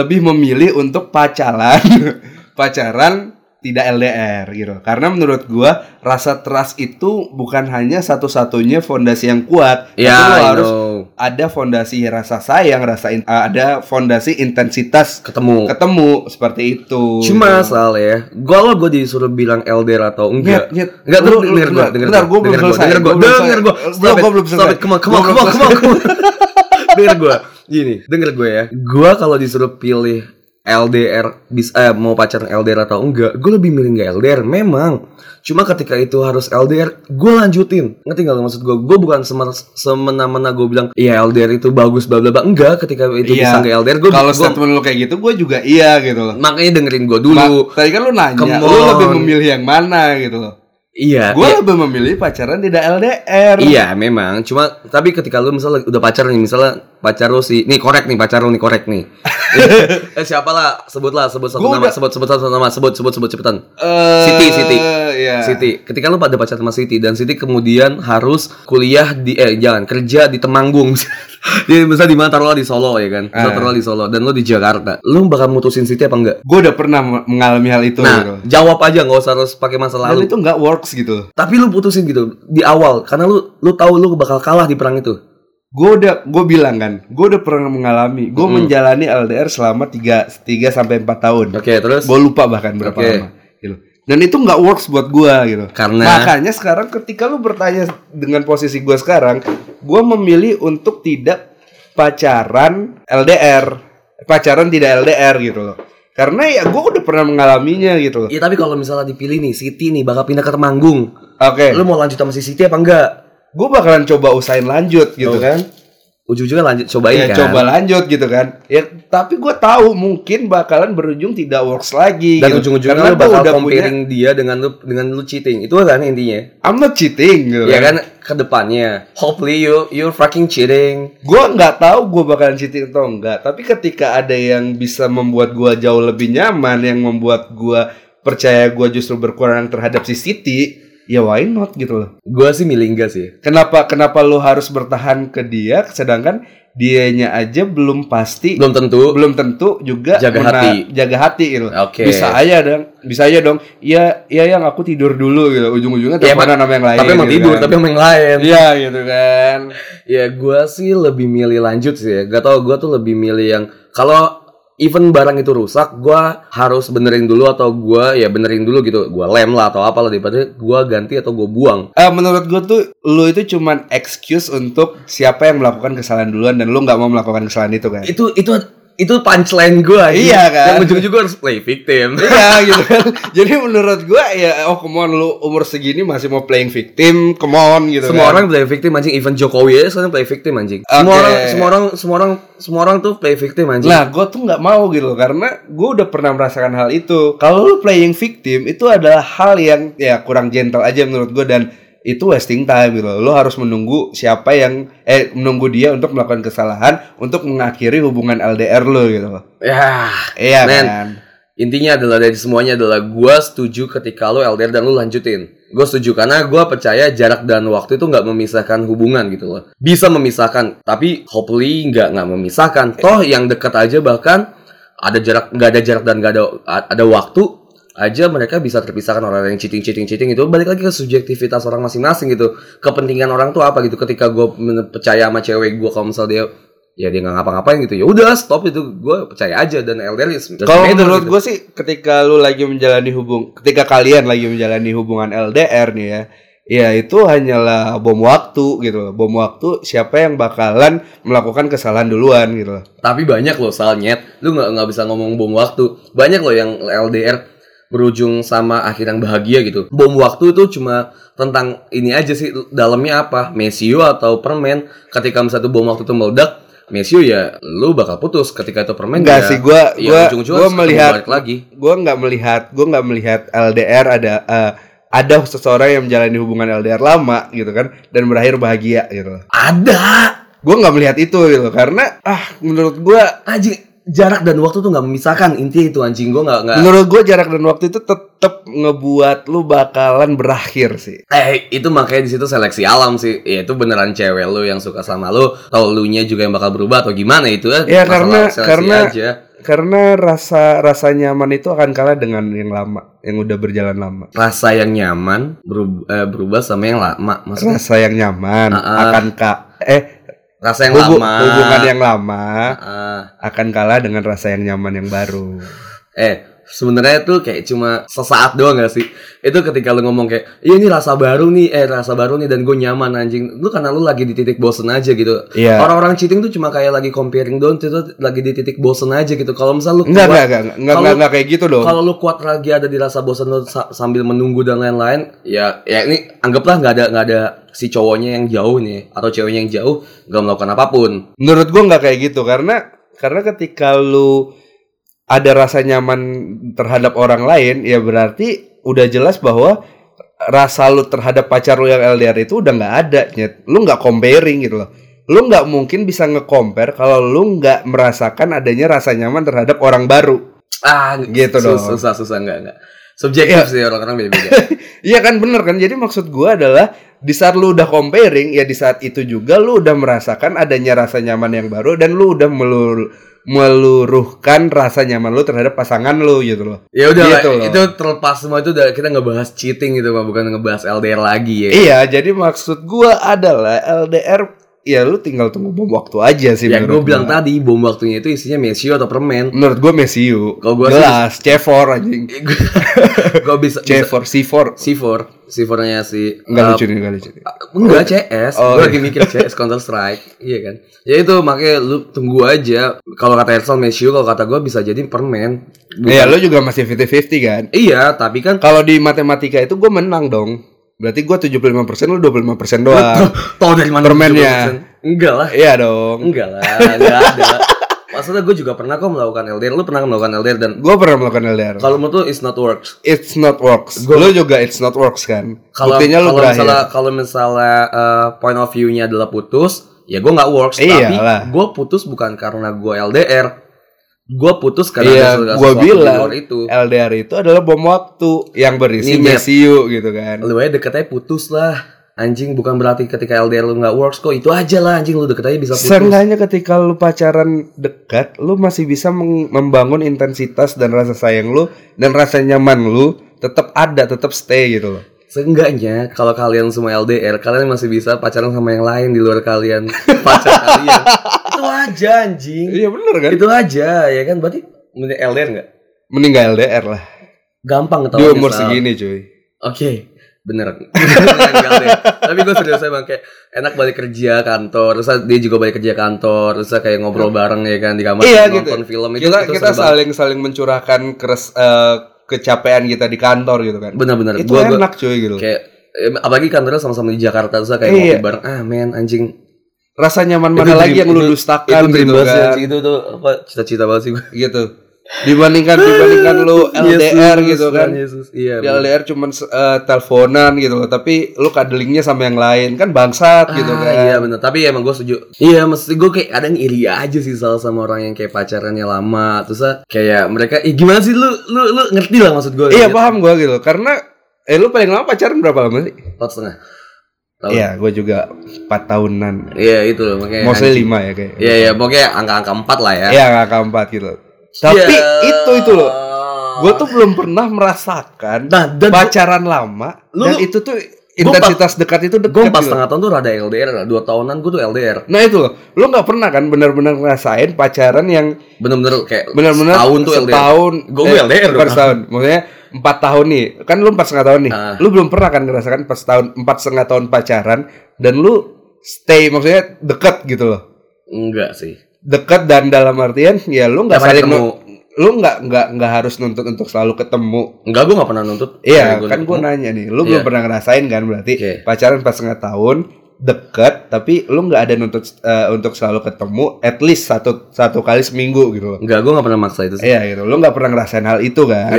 Speaker 4: Lebih memilih untuk pacaran. pacaran tidak LDR gitu. Karena menurut gua rasa trust itu bukan hanya satu-satunya fondasi yang kuat,
Speaker 3: ya
Speaker 4: tapi lo
Speaker 3: I
Speaker 4: harus
Speaker 3: know.
Speaker 4: ada fondasi rasa sayang, rasa in- ada fondasi intensitas
Speaker 3: ketemu
Speaker 4: ketemu seperti itu.
Speaker 3: Cuma Sal ya, gua lo gue disuruh bilang LDR atau enggak?
Speaker 4: Nyet, nyet.
Speaker 3: Enggak,
Speaker 4: Lu-
Speaker 3: lu
Speaker 4: lu-
Speaker 3: denger gua,
Speaker 4: bentar,
Speaker 3: denger
Speaker 4: bentar, gua belum
Speaker 3: denger gua,
Speaker 4: selesai,
Speaker 3: denger gua,
Speaker 4: gua belum
Speaker 3: denger gua.
Speaker 4: selesai.
Speaker 3: Stop
Speaker 4: Gua-
Speaker 3: it,
Speaker 4: gua belum
Speaker 3: stop
Speaker 4: selesai.
Speaker 3: it, come on, come on,
Speaker 4: Gua belum
Speaker 3: come on, come on, come on. Denger gua. Gini, denger gue ya. Gua kalau disuruh pilih LDR bis eh, mau pacaran LDR atau enggak, gue lebih milih enggak LDR memang. Cuma ketika itu harus LDR, gue lanjutin. Ngerti nggak lo maksud gue? Gue bukan semer- semena-mena gue bilang, iya LDR itu bagus bla bla bla. Enggak, ketika itu bisa
Speaker 4: Iya.
Speaker 3: enggak LDR, gue
Speaker 4: kalau statement lu kayak gitu, gue juga iya gitu loh.
Speaker 3: makanya dengerin gue
Speaker 4: Ma-
Speaker 3: dulu.
Speaker 4: tadi kan lu nanya,
Speaker 3: Come
Speaker 4: lu
Speaker 3: on.
Speaker 4: lebih memilih yang mana gitu loh.
Speaker 3: Iya.
Speaker 4: Gue
Speaker 3: iya.
Speaker 4: lebih memilih pacaran tidak LDR.
Speaker 3: Iya memang, cuma tapi ketika lu misalnya udah pacar nih, misalnya pacar lu si, nih korek nih pacar lu nih korek nih. eh siapa lah, sebut lah, sebut satu
Speaker 4: Gua
Speaker 3: nama,
Speaker 4: udah-
Speaker 3: sebut sebut satu nama, sebut sebut sebut cepetan.
Speaker 4: Eh,
Speaker 3: Siti, Siti.
Speaker 4: Iya.
Speaker 3: Siti, ketika lu pada pacar sama Siti dan Siti kemudian harus kuliah di eh jangan kerja di Temanggung. Jadi misalnya di mana taruhlah di Solo ya kan, Misalnya
Speaker 4: Ah.
Speaker 3: taruhlah di Solo dan lu di Jakarta, lu bakal mutusin Siti apa enggak?
Speaker 4: Gue udah pernah me- mengalami hal itu. gitu.
Speaker 3: Nah, jawab aja nggak usah harus pakai masa
Speaker 4: Dan
Speaker 3: lalu.
Speaker 4: Nah, itu nggak works gitu.
Speaker 3: Tapi lu putusin gitu di awal karena lu lu tahu lu bakal kalah di perang itu.
Speaker 4: Gue udah, gue bilang kan, gue udah pernah mengalami. Gue menjalani LDR selama 3 tiga sampai 4 tahun.
Speaker 3: Oke, terus
Speaker 4: Gue lupa bahkan berapa
Speaker 3: Oke.
Speaker 4: lama. Gitu. Dan itu nggak works buat gua gitu.
Speaker 3: Karena-
Speaker 4: makanya sekarang ketika lu bertanya dengan posisi gua sekarang, gua memilih untuk tidak pacaran LDR, pacaran tidak LDR gitu loh. Karena ya gua udah pernah mengalaminya gitu loh.
Speaker 3: Iya tapi kalau misalnya dipilih nih Siti nih bakal pindah ke Temanggung.
Speaker 4: Oke,
Speaker 3: Lu mau lanjut sama si Siti apa enggak?
Speaker 4: gua bakalan coba usahain lanjut gitu
Speaker 3: Tuh.
Speaker 4: kan.
Speaker 3: Ujung-ujungnya lanjut cobain
Speaker 4: Ya
Speaker 3: Oh, kan.
Speaker 4: coba lanjut gitu kan. Ya tapi gua tahu mungkin bakalan berujung tidak works
Speaker 3: Dan
Speaker 4: lagi. gitu. Karena
Speaker 3: ujung-ujungnya lu
Speaker 4: gua
Speaker 3: bakal
Speaker 4: udah punya-
Speaker 3: comparing dia dengan lu dengan lu cheating. Itu kan intinya.
Speaker 4: I'm not cheating gitu.
Speaker 3: Iya kan ke depannya. Hopefully you you're fucking cheating.
Speaker 4: Gue nggak tahu gue bakalan cheating atau enggak, tapi ketika ada yang bisa membuat gua jauh lebih nyaman, yang membuat gua percaya gua justru berkurang terhadap si Siti, ya why not gitu loh.
Speaker 3: Gua sih milih enggak sih.
Speaker 4: Kenapa kenapa lu harus bertahan ke dia, sedangkan dianya aja belum pasti,
Speaker 3: Belum tentu.
Speaker 4: belum tentu juga
Speaker 3: Jaga
Speaker 4: mena-
Speaker 3: hati.
Speaker 4: jaga hati gitu. loh.
Speaker 3: Oke.
Speaker 4: Bisa aja dong, bisa aja dong. Iya, iya yang aku tidur dulu gitu. Ujung-ujungnya
Speaker 3: Iya,
Speaker 4: teleponan sama yang lain.
Speaker 3: tapi emang
Speaker 4: gitu
Speaker 3: tidur,
Speaker 4: kan.
Speaker 3: tapi emang yang lain.
Speaker 4: Iya gitu kan.
Speaker 3: Ya gua sih lebih milih lanjut sih ya. Gak tau gua tuh lebih milih yang kalau even barang itu rusak, gua harus benerin dulu atau gua ya benerin dulu gitu. Gua lem lah atau apalah daripada gua ganti atau gua buang.
Speaker 4: Eh, menurut gue tuh lu itu cuman excuse untuk siapa yang melakukan kesalahan duluan dan lu nggak mau melakukan kesalahan itu kan.
Speaker 3: Itu itu itu punchline gue
Speaker 4: Iya, kan?
Speaker 3: Yang ujung-ujung gue harus play victim.
Speaker 4: Iya gitu kan. Jadi menurut gua ya oh come on lu umur segini masih mau playing victim, come on gitu
Speaker 3: semua
Speaker 4: kan.
Speaker 3: orang play victim anjing, even Jokowi aja sekarang play victim anjing. Semua
Speaker 4: Oke.
Speaker 3: orang semua orang semua orang semua orang tuh play victim anjing.
Speaker 4: Nah, gue tuh nggak mau gitu loh, karena gue udah pernah merasakan hal itu. Kalau lu playing victim itu adalah hal yang ya kurang gentle aja menurut gue dan itu wasting time gitu. loh. Lo harus menunggu siapa yang eh menunggu dia untuk melakukan kesalahan untuk mengakhiri hubungan LDR lo gitu loh.
Speaker 3: Ya,
Speaker 4: Iya
Speaker 3: Men.
Speaker 4: kan.
Speaker 3: intinya adalah dari semuanya adalah gua setuju ketika lu LDR dan lu lanjutin. Gue setuju karena gua percaya jarak dan waktu itu nggak memisahkan hubungan gitu loh. Bisa memisahkan, tapi hopefully nggak nggak memisahkan. Toh yang dekat aja bahkan ada jarak nggak ada jarak dan nggak ada ada waktu aja mereka bisa terpisahkan orang yang cheating cheating cheating itu balik lagi ke subjektivitas orang masing-masing gitu kepentingan orang tuh apa gitu ketika gue percaya sama cewek gue kalau misal dia ya dia nggak ngapa-ngapain gitu ya udah stop itu gue percaya aja dan LDR is- doesn't
Speaker 4: Kalau
Speaker 3: matter
Speaker 4: menurut
Speaker 3: gitu.
Speaker 4: gue sih ketika lu lagi menjalani hubung ketika kalian lagi menjalani hubungan LDR nih ya. Ya itu hanyalah bom waktu gitu loh. Bom waktu siapa yang bakalan melakukan kesalahan duluan gitu loh.
Speaker 3: Tapi banyak loh soalnya, lu nggak nggak bisa ngomong bom waktu. Banyak loh yang LDR berujung sama akhir yang bahagia gitu. Bom waktu itu cuma tentang ini aja sih dalamnya apa, mesio atau permen. Ketika misalnya tuh bom waktu itu meledak, mesio ya lu bakal putus. Ketika itu permen
Speaker 4: Enggak
Speaker 3: ya,
Speaker 4: sih, gua-
Speaker 3: ya
Speaker 4: gua-
Speaker 3: ujung-ujungnya
Speaker 4: gua
Speaker 3: harus ketemu
Speaker 4: melihat-
Speaker 3: balik lagi.
Speaker 4: gue nggak melihat gue nggak melihat LDR ada eh, ada seseorang yang menjalani hubungan LDR lama gitu kan dan berakhir bahagia gitu
Speaker 3: Ada
Speaker 4: gue nggak melihat itu gitu karena ah menurut gue
Speaker 3: anjing jarak dan waktu tuh nggak memisahkan intinya itu anjing gua nggak nggak
Speaker 4: menurut gue jarak dan waktu itu tetap ngebuat lu bakalan berakhir sih
Speaker 3: Eh itu makanya di situ seleksi alam sih. Ya itu beneran cewek lu yang suka sama lu, atau lu nya juga yang bakal berubah atau gimana itu eh, masalah
Speaker 4: Ya, karena-
Speaker 3: seleksi
Speaker 4: karena-
Speaker 3: aja.
Speaker 4: karena rasa rasa nyaman itu akan kalah dengan yang lama yang udah berjalan lama
Speaker 3: rasa yang nyaman berub- eh, berubah sama yang lama. Maksudnya
Speaker 4: rasa yang nyaman
Speaker 3: Ah, ah.
Speaker 4: akan ka eh
Speaker 3: rasa yang
Speaker 4: hubu-
Speaker 3: lama.
Speaker 4: hubungan yang lama
Speaker 3: Ah,
Speaker 4: akan kalah dengan rasa yang nyaman yang baru
Speaker 3: eh sebenarnya itu kayak cuma sesaat doang gak sih? Itu ketika lu ngomong kayak, "Iya ini rasa baru nih, eh rasa baru nih dan gue nyaman anjing." Lu karena lu lagi di titik bosen aja gitu.
Speaker 4: Iya.
Speaker 3: Orang-orang cheating tuh cuma kayak lagi comparing down itu lagi di titik bosen aja gitu. Kalau misal lu
Speaker 4: Enggak,
Speaker 3: keluar-
Speaker 4: enggak, enggak, enggak, enggak,
Speaker 3: Kalau-
Speaker 4: enggak kayak gitu dong.
Speaker 3: Kalau lu kuat lagi ada di rasa bosan lu sa- sambil menunggu dan lain-lain, ya ya ini anggaplah nggak ada nggak ada si cowoknya yang jauh nih atau ceweknya yang jauh nggak melakukan apapun.
Speaker 4: Menurut gua enggak kayak gitu karena karena ketika lu ada rasa nyaman terhadap orang lain, ya berarti udah jelas bahwa rasa lu terhadap pacar lu yang LDR itu udah nggak ada, Nyet. Lu nggak comparing gitu loh. Lu nggak mungkin bisa nge-compare kalau lu nggak merasakan adanya rasa nyaman terhadap orang baru.
Speaker 3: Ah,
Speaker 4: Gitu
Speaker 3: sus-
Speaker 4: dong.
Speaker 3: Susah susah nggak nggak. Subjektif sih orang-orang beda-beda.
Speaker 4: Iya kan bener kan? Jadi maksud gua adalah di saat lu udah comparing ya di saat itu juga lu udah merasakan adanya rasa nyaman yang baru dan lu udah melur- meluruhkan rasa nyaman lu terhadap pasangan lu gitu loh.
Speaker 3: ya udah lah,
Speaker 4: Gitu loh.
Speaker 3: itu terlepas semua itu udah kita ngebahas cheating gitu mah bukan ngebahas LDR lagi ya.
Speaker 4: Iya, jadi maksud gua adalah LDR ya lu tinggal tunggu bom waktu aja sih
Speaker 3: Yang gue
Speaker 4: menurut
Speaker 3: Ya, bilang tadi bom waktunya itu isinya mesio atau permen.
Speaker 4: Menurut gua Mesiu.
Speaker 3: Kalau gua sih- Iya,
Speaker 4: jelas C4 anjing.
Speaker 3: gue bisa, bisa
Speaker 4: C4 C4.
Speaker 3: C4, C4-nya si
Speaker 4: Enggak
Speaker 3: uh,
Speaker 4: lucu nih, enggak lucu nih.
Speaker 3: Enggak CS, gue
Speaker 4: Oh, iya.
Speaker 3: lagi mikir CS Counter Strike, iya kan? Ya itu makanya lu tunggu aja. Kalau kata Ersel Mesio, kalau kata gue bisa jadi permen. Bukan-
Speaker 4: Iya, lu juga masih 50-50 kan?
Speaker 3: Iya, tapi kan
Speaker 4: Kalau di matematika itu gue menang dong. Berarti gue 75% lu 25% doang.
Speaker 3: tau dari mana
Speaker 4: Permennya.
Speaker 3: 70%? Enggak lah,
Speaker 4: iya dong.
Speaker 3: enggak lah, enggak ada. Maksudnya gue juga pernah kok melakukan LDR, lu pernah melakukan LDR dan
Speaker 4: Gue pernah melakukan LDR.
Speaker 3: kalau menurut lu it's not works.
Speaker 4: It's not works.
Speaker 3: Gua-
Speaker 4: Lu juga it's not works kan.
Speaker 3: Kalau
Speaker 4: Buktinya lu
Speaker 3: kalau
Speaker 4: berakhir.
Speaker 3: misalnya kalau misalnya eh, point of view-nya adalah putus, ya gue nggak works.
Speaker 4: Iyalah.
Speaker 3: Tapi gue putus bukan karena gue LDR, gue putus karena
Speaker 4: Iya,
Speaker 3: ada
Speaker 4: gue
Speaker 3: sesuatu di
Speaker 4: bilang
Speaker 3: luar itu.
Speaker 4: LDR itu adalah bom waktu yang berisi
Speaker 3: Nih, Nyet.
Speaker 4: mesiu gitu kan.
Speaker 3: lu aja deket aja putus lah anjing bukan berarti ketika LDR lu nggak works kok itu aja lah anjing lu deket aja bisa putus
Speaker 4: Seenggaknya ketika lu pacaran dekat, lu masih bisa meng- membangun intensitas dan rasa sayang lu dan rasa nyaman lu tetap ada, tetap stay gitu loh.
Speaker 3: seenggaknya kalau kalian semua LDR kalian masih bisa pacaran sama yang lain di luar kalian pacar kalian itu aja anjing
Speaker 4: Iya bener kan?
Speaker 3: itu aja ya kan berarti mending LDR nggak
Speaker 4: Mending gak LDR lah.
Speaker 3: gampang
Speaker 4: Di
Speaker 3: ketahuan
Speaker 4: umur
Speaker 3: nyesal.
Speaker 4: segini cuy.
Speaker 3: oke bener Meninggal dia. tapi gue serius emang kayak enak balik kerja kantor terus dia juga balik kerja kantor terus kayak ngobrol bareng ya kan di kamar
Speaker 4: Iya,
Speaker 3: nonton film itu
Speaker 4: kita
Speaker 3: itu
Speaker 4: kita
Speaker 3: seru banget.
Speaker 4: saling saling mencurahkan keres eh, kecapean kita di kantor gitu kan
Speaker 3: bener-bener
Speaker 4: itu
Speaker 3: Gua- gua-
Speaker 4: enak cuy gitu
Speaker 3: kayak eh, apalagi kantornya sama-sama di Jakarta terus kayak
Speaker 4: Iya.
Speaker 3: ngopi bareng ah men anjing
Speaker 4: rasa nyaman mana
Speaker 3: Itu
Speaker 4: lagi
Speaker 3: dream-
Speaker 4: yang lu
Speaker 3: itu-
Speaker 4: dustakan
Speaker 3: itu dream
Speaker 4: gitu
Speaker 3: banget sih,
Speaker 4: kan
Speaker 3: anjing. itu tuh apa cita-cita banget sih gue
Speaker 4: gitu dibandingkan dibandingkan Kan lu LDR gitu kan
Speaker 3: Yesus iya
Speaker 4: di LDR cuman eh, teleponan gitu loh tapi lu kadelingnya sama yang lain kan bangsat gitu
Speaker 3: Ah,
Speaker 4: kan
Speaker 3: Iya bener Tapi emang gue setuju Iya mesti gue kayak kadang iri aja sih Salah sama orang yang kayak pacarannya lama Terus ah, kayak mereka eh, Gimana sih lu Lu lu ngerti lah maksud gue
Speaker 4: Iya paham gua gitu karena eh lu paling lama pacaran berapa lama sih?
Speaker 3: Empat setengah Tahun.
Speaker 4: Iya, gua juga 4 tahunan.
Speaker 3: Iya itu loh makanya
Speaker 4: Maksudnya 5 ya kayak.
Speaker 3: Iya iya pokoknya angka-angka empat lah ya
Speaker 4: Iya, kakak 4 gitu. Tapi
Speaker 3: Iya.
Speaker 4: itu itu loh. Gua tuh belum pernah merasakan
Speaker 3: Nah dan
Speaker 4: pacaran lama
Speaker 3: Lu-
Speaker 4: dan
Speaker 3: lu-
Speaker 4: itu tuh intensitas dekat itu dekat.
Speaker 3: gue empat
Speaker 4: gitu.
Speaker 3: setengah tahun tuh rada LDR lah Dua tahunan gue tuh LDR
Speaker 4: Nah itu loh, lu nggak pernah kan benar-benar ngerasain pacaran yang
Speaker 3: Bener-bener kayak
Speaker 4: benar-benar
Speaker 3: Setahun tuh LDR
Speaker 4: setahun eh,
Speaker 3: Gua- gua LDR
Speaker 4: bukan
Speaker 3: dong.
Speaker 4: setahun maksudnya empat tahun nih kan lu empat setengah tahun nih
Speaker 3: Ah.
Speaker 4: lu belum pernah kan ngerasakan pas tahun empat setengah tahun pacaran dan lu stay maksudnya deket gitu loh
Speaker 3: Enggak sih
Speaker 4: deket dan dalam artian ya lu nggak
Speaker 3: Tiap hari
Speaker 4: saling
Speaker 3: ketemu.
Speaker 4: nu- lu nggak nggak nggak harus nuntut untuk selalu ketemu
Speaker 3: Enggak gue gak pernah nuntut
Speaker 4: iya
Speaker 3: Dari
Speaker 4: kan gue
Speaker 3: ketemu.
Speaker 4: nanya nih lu
Speaker 3: Iya.
Speaker 4: belum pernah ngerasain kan berarti
Speaker 3: Oke.
Speaker 4: pacaran empat setengah tahun deket tapi lu nggak ada nuntut eh, untuk selalu ketemu at least satu satu kali seminggu gitu loh
Speaker 3: Enggak gue gak pernah maksa itu sih
Speaker 4: Iya gitu, lu nggak pernah ngerasain hal itu kan?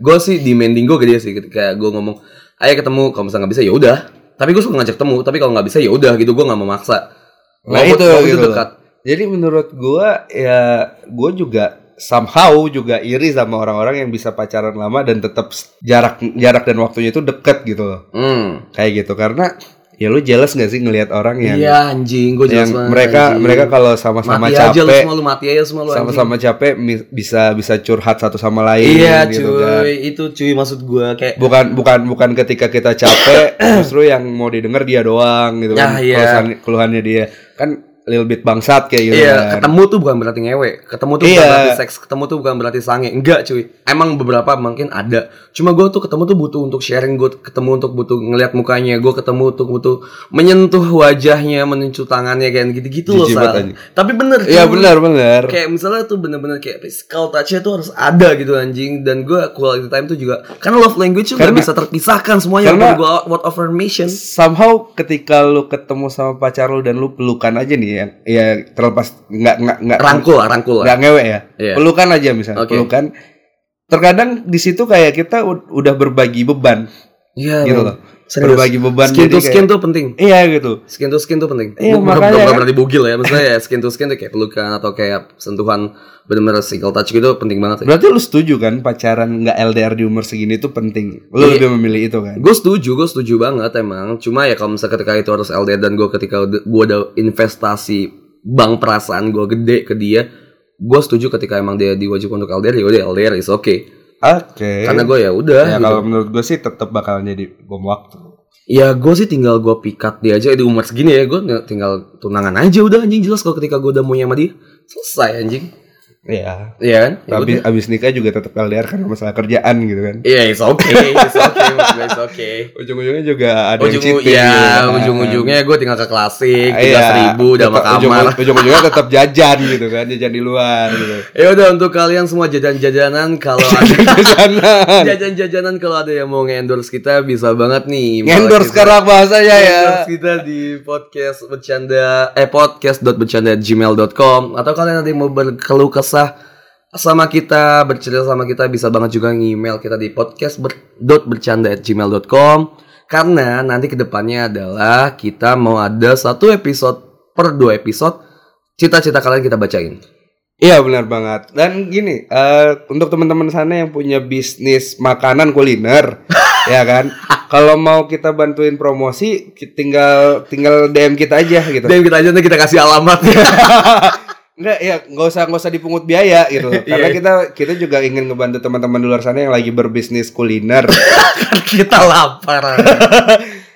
Speaker 3: gue Iya, sih demanding gue gede sih ketika gue ngomong ayo ketemu kalau misalnya nggak bisa ya udah tapi gue suka ngajak ketemu tapi kalau nggak bisa ya udah gitu gue nggak mau maksa
Speaker 4: Nah
Speaker 3: Walaupun-
Speaker 4: itu
Speaker 3: walaupun
Speaker 4: gitu.
Speaker 3: dekat
Speaker 4: Jadi menurut gua ya gua juga somehow juga iri sama orang-orang yang bisa pacaran lama dan tetap s- jarak jarak dan waktunya itu deket gitu loh.
Speaker 3: hmm.
Speaker 4: Kayak gitu karena ya lu jelas gak sih ngelihat orang yang
Speaker 3: iya anjing gue jelas
Speaker 4: gitu.
Speaker 3: banget,
Speaker 4: yang mereka
Speaker 3: anjing.
Speaker 4: mereka kalau sama-sama
Speaker 3: mati aja lu semua
Speaker 4: capek
Speaker 3: lu mati aja semua lu anjing.
Speaker 4: sama-sama capek mi- bisa bisa curhat satu sama lain
Speaker 3: iya cuy
Speaker 4: gitu kan.
Speaker 3: itu cuy maksud gue kayak
Speaker 4: Bukan bukan bukan ketika kita capek justru yang mau didengar dia doang gitu
Speaker 3: Nah,
Speaker 4: kan.
Speaker 3: iya.
Speaker 4: Keluhan- keluhannya dia kan little bit bangsat kayak gitu
Speaker 3: Iya,
Speaker 4: kan.
Speaker 3: ketemu tuh bukan berarti ngewe, ketemu tuh
Speaker 4: Iya.
Speaker 3: bukan berarti seks, ketemu tuh bukan berarti sange, enggak cuy. Emang beberapa mungkin ada, cuma gue tuh ketemu tuh butuh untuk sharing, gue ketemu untuk butuh ngelihat mukanya, gue ketemu untuk butuh menyentuh wajahnya, menyentuh tangannya kayak gitu-gitu loh.
Speaker 4: Jijik
Speaker 3: Sal.
Speaker 4: banget, anjing.
Speaker 3: Tapi bener,
Speaker 4: Iya
Speaker 3: cuy.
Speaker 4: benar benar.
Speaker 3: Kayak misalnya tuh bener-bener kayak physical touch-nya tuh harus ada gitu anjing Dan gue quality time tuh juga Karena love language tuh nggak
Speaker 4: Karena-
Speaker 3: bisa terpisahkan semuanya
Speaker 4: karena- Iya.
Speaker 3: Karena gue word of affirmation
Speaker 4: Somehow ketika lu ketemu sama pacar lu dan lu pelukan aja nih ya, ya terlepas nggak nggak nggak
Speaker 3: Rangkul lah, rangkul lah
Speaker 4: nggak ngewe ya.
Speaker 3: Iya.
Speaker 4: Pelukan aja misalnya.
Speaker 3: Oke.
Speaker 4: Pelukan. Terkadang di situ kayak kita u- udah berbagi beban
Speaker 3: Iya
Speaker 4: gitu
Speaker 3: Bang.
Speaker 4: loh.
Speaker 3: Serius.
Speaker 4: Berbagi beban
Speaker 3: Skin
Speaker 4: jadi
Speaker 3: to
Speaker 4: kayak-
Speaker 3: skin tuh penting
Speaker 4: Iya gitu.
Speaker 3: skin to skin tuh penting.
Speaker 4: Iya,
Speaker 3: Bu-
Speaker 4: makanya
Speaker 3: bukan, bukan
Speaker 4: kan.
Speaker 3: berarti bugil ya, maksudnya ya skin to skin tuh kayak pelukan atau kayak sentuhan benar-benar single touch gitu penting banget.
Speaker 4: Berarti lu setuju kan pacaran nggak LDR di umur segini itu penting. Lu
Speaker 3: Iya.
Speaker 4: lebih memilih itu kan.
Speaker 3: Gue setuju, gue setuju banget emang. Cuma ya kalau misalnya ketika itu harus LDR dan gue ketika gue ada investasi bank perasaan gue gede ke dia, gue setuju ketika emang dia diwajibkan untuk LDR ya udah LDR is okay.
Speaker 4: Oke.
Speaker 3: Karena gue ya udah.
Speaker 4: ya
Speaker 3: gitu.
Speaker 4: kalau menurut gue sih tetap bakal jadi bom waktu.
Speaker 3: Ya gue sih tinggal gue pikat dia aja di umur segini ya gue tinggal tunangan aja udah anjing jelas kalau ketika gue udah maunya sama dia selesai anjing.
Speaker 4: Iya.
Speaker 3: Iya kan? Ya udah.
Speaker 4: Tapi abis nikah juga tetap LDR karena kan masalah kerjaan gitu kan.
Speaker 3: Iya, it's okay, it's okay, maksud gue it's okay.
Speaker 4: ujung-ujungnya juga ada
Speaker 3: Ujung,
Speaker 4: yang cheating gitu
Speaker 3: ya,
Speaker 4: kan.
Speaker 3: ujung-ujungnya gue tinggal ke klasik,
Speaker 4: Iya,
Speaker 3: tiga seribu, udah sama
Speaker 4: tetap- ujung-
Speaker 3: kamar.
Speaker 4: ujung-ujungnya tetap jajan gitu kan jajan di luar gitu
Speaker 3: Ya udah untuk kalian semua jajan-jajanan kalau ada
Speaker 4: jajanan
Speaker 3: jajan-jajanan kalau ada yang mau endorse kita bisa banget nih.
Speaker 4: ngendor sekarang bahasanya ya
Speaker 3: Endorse kita di podcast bercanda eh podcast.bercanda@gmail.com atau kalian nanti mau berkeluh kesah sama kita bercerita sama kita bisa banget juga ngemail kita di podcast karena nanti kedepannya adalah kita mau ada satu episode per dua episode cita-cita kalian kita bacain
Speaker 4: iya benar banget dan gini eh, untuk teman-teman sana yang punya bisnis makanan kuliner ya kan kalau mau kita bantuin promosi ki- tinggal tinggal DM kita aja gitu
Speaker 3: dan kita aja nanti kita kasih alamatnya
Speaker 4: Enggak ya, nggak usah nggak usah dipungut biaya gitu. loh. Karena
Speaker 3: Iya.
Speaker 4: kita kita juga ingin ngebantu teman-teman di luar sana yang lagi berbisnis kuliner.
Speaker 3: kita lapar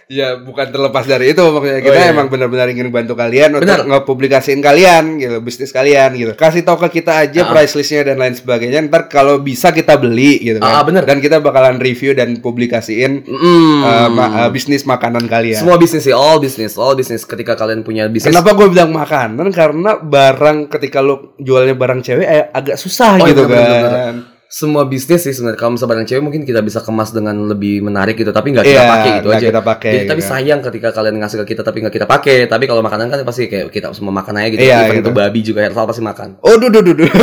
Speaker 4: Ya bukan terlepas dari itu maksudnya kita
Speaker 3: iya.
Speaker 4: emang benar-benar ingin bantu kalian
Speaker 3: Benar.
Speaker 4: untuk ngepublikasiin kalian gitu bisnis kalian gitu kasih tahu ke kita
Speaker 3: Ah.
Speaker 4: aja price listnya dan lain sebagainya ntar kalau bisa kita beli gitu kan
Speaker 3: Ah, benar.
Speaker 4: dan kita bakalan review dan publikasiin
Speaker 3: Mm.
Speaker 4: eh, ma- eh, bisnis makanan kalian
Speaker 3: Semua bisnis sih, all business, all business. Ketika kalian punya bisnis,
Speaker 4: Kenapa gue bilang makanan? Karena barang ketika lo jualnya barang cewek eh, agak susah
Speaker 3: Oh, iya,
Speaker 4: gitu
Speaker 3: bener, bener,
Speaker 4: kan.
Speaker 3: semua bisnis sih sebenarnya. Kalau misalnya barang cewek mungkin kita bisa kemas dengan lebih menarik gitu, tapi nggak kita
Speaker 4: Iya,
Speaker 3: pakai gitu
Speaker 4: nggak
Speaker 3: aja.
Speaker 4: kita pakai,
Speaker 3: Jadi, tapi
Speaker 4: gitu.
Speaker 3: sayang ketika kalian ngasih ke kita tapi nggak kita pakai. Tapi kalau makanan kan pasti kayak kita semua makan aja gitu.
Speaker 4: Iya,
Speaker 3: Even itu
Speaker 4: gitu.
Speaker 3: babi juga Hersal pasti makan.
Speaker 4: Oh, duh, duh, duh, duh.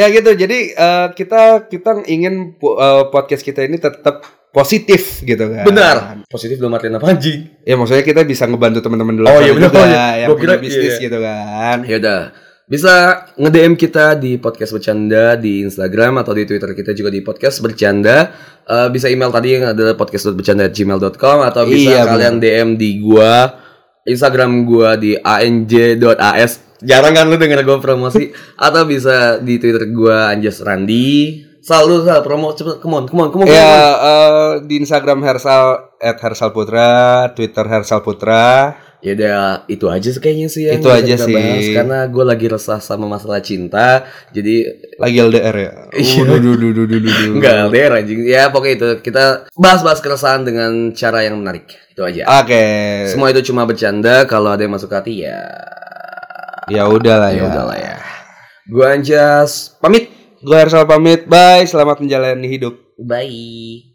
Speaker 4: ya gitu. Jadi eh, kita kita ingin po- eh, podcast kita ini tetap positif gitu kan.
Speaker 3: Benar. Positif dalam artian apa anjing?
Speaker 4: Ya maksudnya kita bisa ngebantu teman-teman dulu
Speaker 3: Oh, iya, benar.
Speaker 4: juga
Speaker 3: Oh, iya.
Speaker 4: yang
Speaker 3: Gua
Speaker 4: punya
Speaker 3: kira- iya,
Speaker 4: bisnis
Speaker 3: iya.
Speaker 4: gitu kan.
Speaker 3: Ya udah. Bisa nge-DM kita di podcast bercanda di Instagram atau di Twitter kita juga di podcast bercanda. Eh, bisa email tadi yang adalah podcast.bercanda@gmail.com atau bisa
Speaker 4: Iya,
Speaker 3: kalian DM di gua Instagram gua di anj.as. Jarang kan lu denger gua promosi atau bisa di Twitter gua Anjas Randi. Sal lu Sal, promo cepet come on come on come on.
Speaker 4: Ya
Speaker 3: come on.
Speaker 4: eh, di Instagram Hersal @hersalputra, Twitter Hersalputra.
Speaker 3: Ya udah itu aja sih kayaknya sih yang
Speaker 4: Itu
Speaker 3: bisa
Speaker 4: aja
Speaker 3: kita
Speaker 4: sih.
Speaker 3: bahas. karena gua lagi resah sama masalah cinta. Jadi
Speaker 4: Lagi LDR ya.
Speaker 3: Iya.
Speaker 4: Oh, duh, duh, duh, duh, duh, duh, duh.
Speaker 3: Enggak LDR anjing. Ya pokoknya itu kita bahas-bahas keresahan dengan cara yang menarik. Itu aja.
Speaker 4: Oke.
Speaker 3: Semua itu cuma bercanda. Kalau ada yang masuk hati ya
Speaker 4: Ya udahlah
Speaker 3: ya
Speaker 4: ya.
Speaker 3: udahlah ya. Gua Anjas pamit.
Speaker 4: Gue Hersal pamit. Bye. Selamat menjalani hidup.
Speaker 3: Bye.